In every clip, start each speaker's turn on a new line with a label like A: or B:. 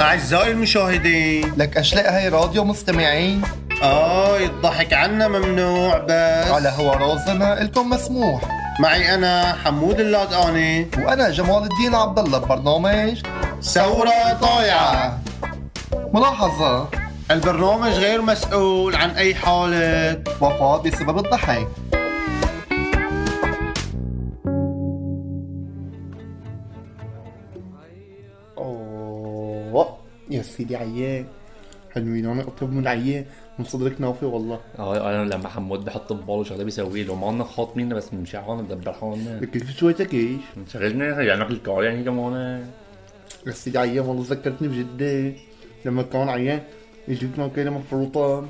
A: أعزائي المشاهدين
B: لك أشلاء هاي راديو مستمعين
A: آه الضحك عنا ممنوع بس
B: على هوا رازنا إلكم مسموح
A: معي أنا حمود اللادقاني
B: وأنا جمال الدين عبد الله ببرنامج
A: ثورة طايعة
B: ملاحظة
A: البرنامج غير مسؤول عن أي حالة
B: وفاة بسبب الضحك
A: أوه يا سيدي عيال حلوين أنا أطلب من العيال من صدرك نافي والله
C: اه انا لما حمود بحط بباله شغله بيسوي له ما لنا خاطمين بس مش عارف ندبر حالنا
A: لك كيف شويتك ايش
C: شغلنا يعني ناكل كار يعني كمان
A: يا سيدي عيال والله ذكرتني بجدة لما كان عيال يجيب لنا كيلة مفروطة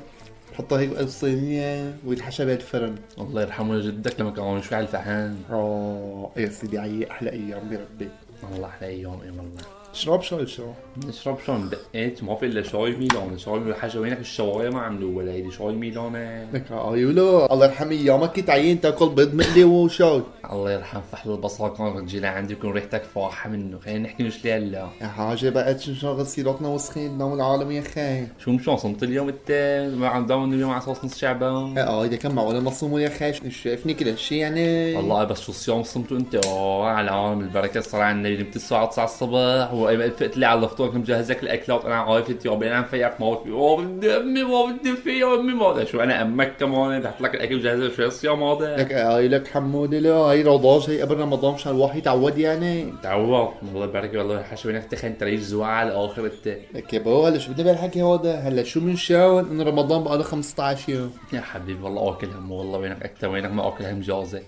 A: حطها هيك بالصينية ويتحشى بها الفرن
C: الله يرحمه جدك لما كان شوي على الفحان
A: اه يا سيدي عيال أحلى أيام بربي
C: والله احلى ايام اي إيه والله
A: شراب شاي شراب
C: نشرب شو دقيت ما في الا شاي ميلان شاي ميلان حاجه وينك الشوايه ما عملوا ولا هيدي شاي ميلان
A: لك عيولا الله يرحم ايامك كنت عيين تاكل بيض مقلي وشاي
C: الله يرحم فحل البصل كان تجينا عندي يكون ريحتك فاحه منه خلينا نحكي مش ليه لا
A: يا حاجة بقت شو شغل سيراتنا وسخيننا والعالم يا خاي
C: شو مش صمت اليوم انت ما عم داون اليوم على اساس نص شعبان
A: اه اذا كان معقولة مصوم يا خاي شو شايفني كل هالشي يعني
C: والله بس شو صيام صمتوا انت اه على عالم البركه صار على النبي نمت الساعه 9 الصبح وقفت لي على الفطور كنت مجهز لك الاكلات انا عرفت يا بني انا مفيقك ما في اه بدي امي ما بدي فيا امي ما بدي. شو انا امك كمان رحت لك الاكل مجهز شو الصيام هذا
A: لك هاي لك حمودي لا هاي رضاج هي قبل رمضان مشان الواحد يتعود يعني
C: تعوض الله يبارك والله حشو انك تخن تريش زواعة على الاخر انت
A: لك يا بابا هلا شو بدنا بهالحكي هذا هلا شو من شاول انه رمضان بقى له 15 يوم
C: يا حبيبي والله اكل هم والله وينك اكثر وينك ما اكل هم جازة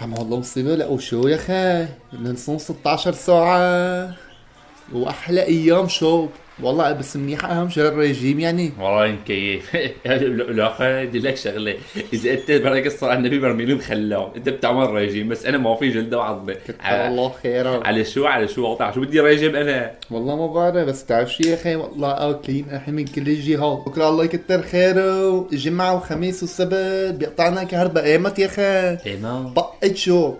A: عم والله مصيبة لا وشو يا خاي بدنا نصوم 16 ساعة واحلى ايام شوب والله بس منيح اهم شهر الرجيم يعني
C: والله إيه؟ مكيف الاخر بدي لك شغله اذا انت بركة الصلاة على النبي برميلي مخلاه انت بتعمل ريجيم بس انا ما في جلده وعظمه
A: آه.
C: على-
A: الله خيره
C: على شو على شو وضع شو بدي ريجيم انا
A: والله ما بعرف بس تعرف شي يا اخي والله اكلين احنا من كل الجهات بكره الله يكتر خيره الجمعه وخميس والسبت بيقطعنا كهرباء قامت يا اخي
C: ايه ما
A: طقت شو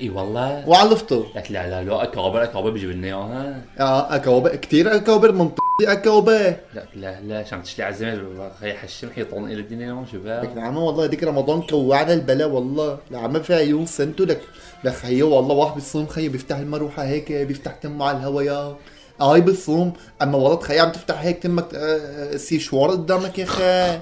C: اي والله
A: وعلى الفطور
C: لك لا لا لا اكابر اكابر بيجيب لنا اياها
A: اه اكوبة كثير اكوبة منطقي اكوبة
C: لا لا لا عشان تشلي على الزمن خي حشم حيطان الى الدنيا شباب
A: لك نعم والله هديك رمضان كوعنا البلا والله نعم في عيون سنتو لك لك خيي والله واحد بالصوم خيي بيفتح المروحه هيك بيفتح تمه على الهوا يا هاي بالصوم اما والله تخيل عم تفتح هيك تمك آه، آه، سيشوار قدامك يا اخي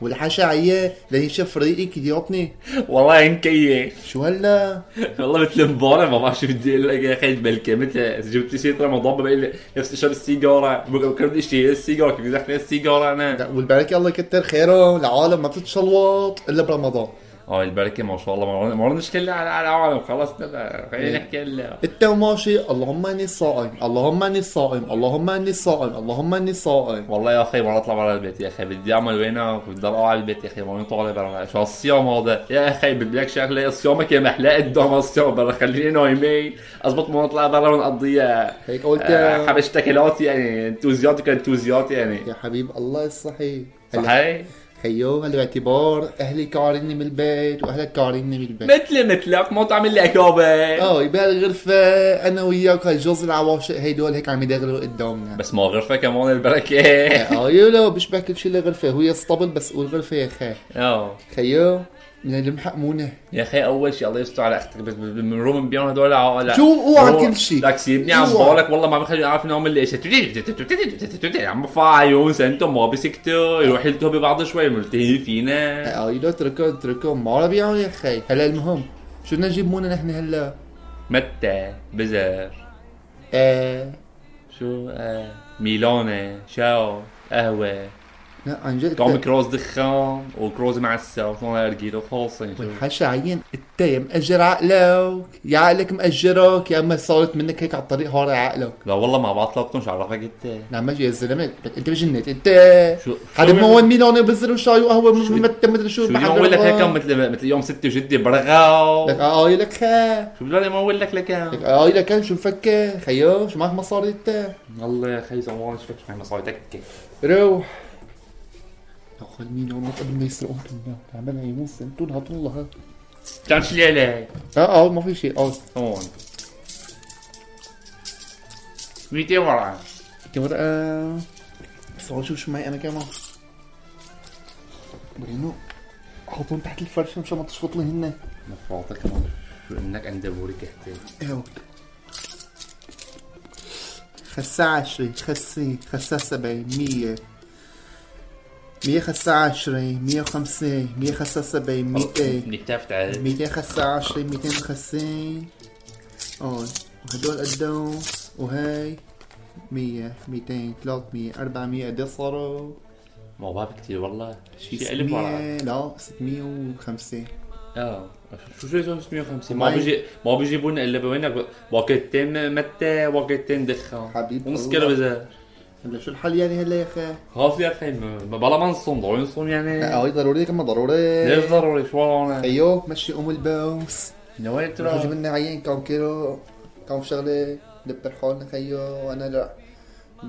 A: والحاشا عيا لين شاف ريقك يديوطني
C: والله مكيف
A: شو هلا
C: والله مثل امبارح ما بعرف شو بدي اقول لك يا اخي بلكمتها جبت لي سيره رمضان بقول نفس شرب السيجاره بكره اشتري السيجاره كيف بدي السيجاره انا
A: والبركه الله يكتر خيره العالم ما بتتشلوط الا برمضان
C: اه البركه ما شاء الله ما عرفنا- ما عرفناش كلها على على العالم خلاص لا، خلينا نحكي هلا
A: انت وماشي اللهم اني صائم اللهم اني صائم اللهم اني صائم اللهم اني صائم
C: والله يا اخي مره اطلع برا البيت يا اخي بدي اعمل وينه بدي اروح على البيت يا اخي ما طالع برا شو الصيام هذا يا اخي بدي لك شغله صيامك يا محلاء الدوم الصيام برا خليني نايمين اضبط ما نطلع برا ونقضيها
A: هيك قلت
C: آه،
A: يا
C: حبش تاكلات يعني انتوزيات كانتوزيات يعني
A: يا حبيب الله الصحي هلا
C: صحيح
A: خيو هلا باعتبار اهلي كارني من البيت واهلك كارني من البيت
C: مثل مثلك ما تعمل لي اكابه
A: اه يبقى الغرفة انا وياك هالجوز العواشق هيدول هيك عم يدغروا قدامنا
C: بس ما غرفه كمان البركه
A: اه يلا بيشبه كل شي لغرفة هو يسطبل بس قول غرفة يا خي
C: اه
A: خيو بدنا نلمحق مونة
C: يا اخي اول شيء الله يستر على اختك بس من روم بيون هدول عقلة
A: شو اوعى كل شي
C: لك سيبني
A: اوعى.
C: عم بالك يعني والله ما بخلي اعرف انهم اللي ايش عم بفع عيون سنتهم ما بسكتوا يروح يلتهوا ببعض شوي ملتهين فينا
A: اه يلا اتركوا اتركوا ما رح بيعوا يا خي هلا المهم شو بدنا نجيب مونة نحن هلا
C: متى بزر
A: آه
C: شو آه ميلانة شاو قهوة
A: لا عن جد
C: توم كروز دخان وكروز مع الساوث وانا ارجيله خالصين شو.
A: والحشا عين انت يا مأجر عقلك يا عقلك مأجرك يا اما صارت منك هيك على الطريق هاري عقلك
C: لا والله ما بعطلتكم شو عرفك انت
A: نعم يا زلمه بت- انت بجنيت انت
C: شو
A: حدا
C: شو
A: ما وين مين هون بزر وشاي وقهوه
C: شو-
A: متى مدري شو
C: شو
A: بحضر
C: اليوم اقول لك هيك
A: الله.
C: مثل مثل يوم ستة وجدي برغاو
A: لك اه لك خا
C: شو بدي ما اقول لك لكم
A: لك اه لك كان شو مفكر خيو شو معك مصاري انت
C: والله يا اخي زمان مش فاكر ما صايتك
A: روح يا مين هون قبل ما يسرقون عملنا يموس انتوا هاتوا الله آه، هات.
C: تعال شو لي عليك
A: اه اه ما في شيء اه
C: هون 200 مرة
A: كم مرة بس أول شوف شو معي أنا كمان برينو حطهم تحت الفرشة مشان ما تشفط لي هن
C: مفروضة كمان انك عند بوريك احتاج
A: ايوه خساعة عشرين خسين خساعة سبعين مية مية خساعة عشرين مية وخمسين مية خساعة سبعين ميتين
C: نكتاف تعال
A: ميتين خساعة عشرين ميتين وخمسين اه وهدول قدهم وهاي مية ميتين تلاتمية أربعمية قد صاروا؟
C: ما باب كتير والله شي ألف مرة
A: 600 لا 650
C: اه شو شو شو 650
A: ما
C: ما
A: ي-
C: بيجي ما بيجيبوا لنا الا بوينك باكيتين متى باكيتين دخان
A: حبيب
C: ونص
A: الله.
C: كيلو بزار
A: هلا شو الحل يعني هلا يا اخي؟
C: خاف يا اخي ما- بلا ما نصوم ضروري نصوم يعني
A: اه هي ضروري كمان ضروري
C: ليش ضروري شو ورانا
A: ايوه مشي ام البوس
C: نويت
A: رح
C: ترى
A: جبنا عيان كم كيلو كم شغله دبر حالنا خيو وانا لا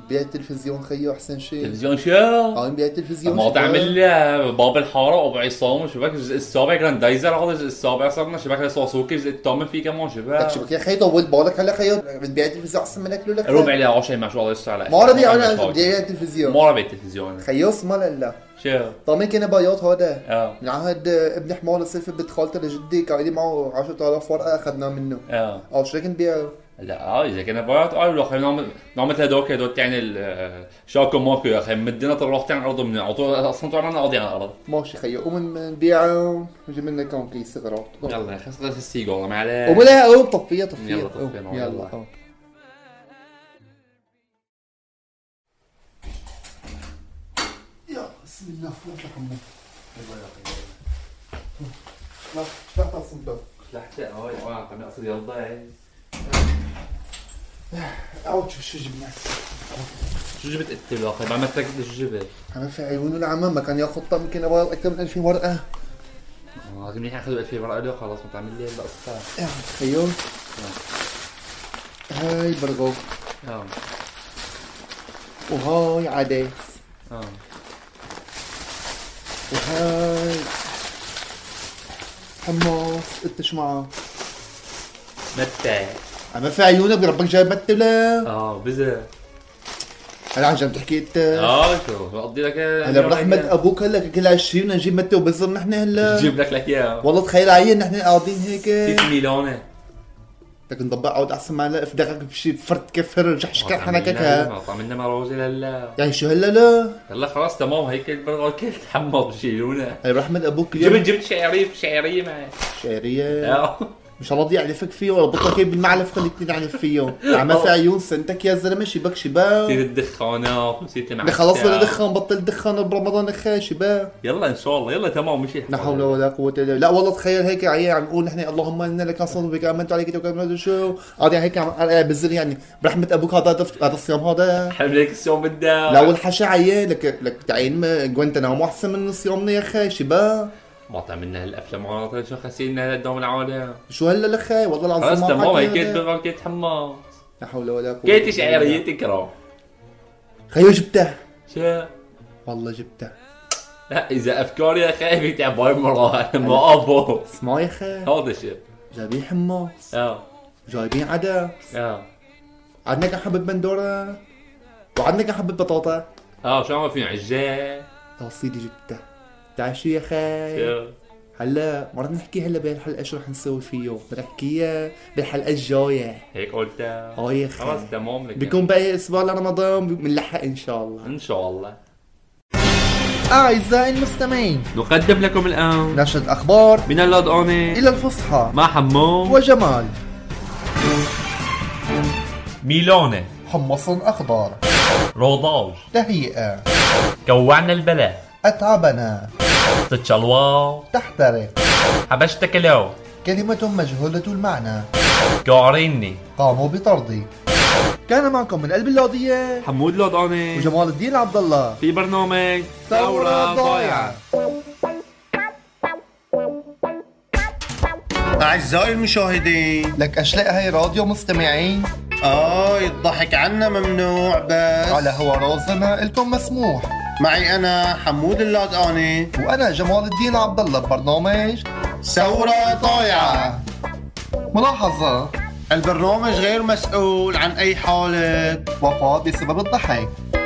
A: بيع التلفزيون خيو احسن شيء
C: تلفزيون شو
A: اه بيع التلفزيون
C: ما
A: شو
C: تعمل
A: بقى؟
C: لي باب الحاره وابو عصام وشبك جزء السابع جراندايزر هذا جزء السابع صرنا شبك سوسوكي جزء الثامن في كمان
A: لك
C: شبك
A: شبك يا خي طول بالك هلا خيو بتبيع التلفزيون احسن منك لو لك
C: ربع لي عشان ما شاء الله يستر عليك
A: ما ربي انا بدي
C: ما
A: ابيع التلفزيون
C: ربي التلفزيون
A: خيو صمال هلا
C: شو
A: طامن كان بياض هذا
C: اه
A: من عهد ابن حمار الصيف بنت خالته لجدي كان لي معه 10000 ورقه اخذناها منه
C: اه
A: اه شو كان بيعه
C: لا آه، اذا كان بايت اه لو خلينا نعمل نعمل هذوك هذوك يعني شاكو ماكو يا اخي مدينا طروح تاع الارض من عطوا اصلا طلعنا قاضي على الارض
A: ماشي خيو ومن بيعه وجيب لنا كم كيس سيجارات
C: يلا يا اخي خلص السيجاره ما عليه
A: وملا قوم طفيه طفيه
C: يلا طفينا،
A: قوم.
C: يلا.
A: يلا قوم. يا بسم الله فوت لك عمو لا فتحت الصندوق
C: لحتى اه يا عم اقصد يلا
A: اوت شو جبنا
C: شو جبت انت يا اخي بعد ما تركت شو جبت
A: انا في عيونه العمام ما كان ياخذ طم يمكن أبغى اكثر من 2000 ورقه
C: اه منيح اخذوا 2000 ورقه له خلاص ما تعمل لي هلا قصه
A: يا خيو هاي برغو
C: اه
A: وهاي عدس
C: اه
A: وهاي حمص قدتش معه
C: متى
A: عم في عيونك بربك جايب متى ولا
C: اه بزر
A: هلا عن جد تحكي انت
C: اه شو بقضي لك
A: هلا برحمة ابوك هلا كل 20 بدنا نجيب متى وبزر نحن هلا
C: جيب لك لك اياه
A: والله تخيل عيل نحن قاعدين هيك
C: 6 مليون
A: بدك نطبق عود احسن معلقه في دقك بشي فرد كفر رجع شكل حنك هيك
C: آه،
A: ها.
C: طعمنا مروزي هلا
A: يعني شو هلا لا
C: هلا خلاص تمام هيك البرغر كل تحمض شيلونا
A: هلا برحمة ابوك
C: جبت
A: اليوم
C: جبت شعريه شعريه معي
A: شعريه
C: اه
A: مش شاء الله ضيع لفك فيه ولا بطلك هيك بالمعلف خليك تنعلف فيه عم في عيون سنتك يا زلمه شبك شباب
C: نسيت الدخانات ونسيت المعسل
A: احنا خلصنا ندخن بطل دخن برمضان اخي شباب
C: يلا ان شاء الله يلا تمام مشي
A: لا حول ولا قوة الا بالله لا والله تخيل هيك عيال عم نقول نحن اللهم انا لك نصر بك امنت عليك توكلت ما ادري شو قاعد هيك عم قاعد بزر يعني برحمة ابوك هذا دف- هذا الصيام هذا
C: حملك السوم بدها
A: لا والحشا عيال لك لك تعين جوانتنامو احسن من صيامنا يا اخي شباب
C: ما تعملنا هالافلام عرفت شو خسينا هالدوم العالم
A: شو هلا يا اخي والله
C: خلاص
A: العظيم ما
C: تمام
A: حكي
C: هيك
A: هذا.
C: البرغر كل تحمض
A: لا حول ولا قوة
C: كيت شعريه تكره
A: خيو جبته
C: شو
A: والله جبته
C: لا اذا افكاري خايف تعبان مره انا ما ابو
A: اسمع يا اخي
C: هذا الشيء
A: جايبين حمص
C: اه
A: جايبين عدس
C: اه
A: عندنا كان حبة بندورة وعندنا كان حبة بطاطا
C: اه شو عم في عجال
A: يا سيدي جبته تعال شو يا اخي
C: شو؟
A: هلا ما رح نحكي هلا بهالحلقه شو رح نسوي فيه رح نحكيها بالحلقه الجايه
C: هيك قلت
A: اه يا
C: خلاص
A: خي
C: تمام لك
A: بيكون باقي اسبوع لرمضان بنلحق ان شاء الله
C: ان شاء الله
B: أعزائي المستمعين
C: نقدم لكم الان
B: نشرة أخبار
C: من اللدقانة
B: إلى الفصحى
C: مع حمو
B: وجمال
C: ميلونة
B: حمص أخضر
C: روضاج
B: تهيئة
C: جوعنا البلا
B: أتعبنا
C: تتشلوا
B: تحترق
C: حبشت كلاو
B: كلمة مجهولة المعنى
C: قاعريني
B: قاموا بطردي كان معكم من قلب اللوضية
C: حمود لدقانة
B: وجمال الدين عبد الله
C: في برنامج
B: ثورة ضايعة
D: أعزائي المشاهدين
B: لك أشلاء هاي راديو مستمعين
A: آه،
D: آي الضحك عنا ممنوع بس
B: على هو رازنا الكم مسموح
D: معي أنا حمود اللادقاني
B: وأنا جمال الدين عبد الله ببرنامج
D: ثورة طايعة
B: آه، ملاحظة
D: البرنامج غير مسؤول عن أي حالة
A: وفاة بسبب الضحك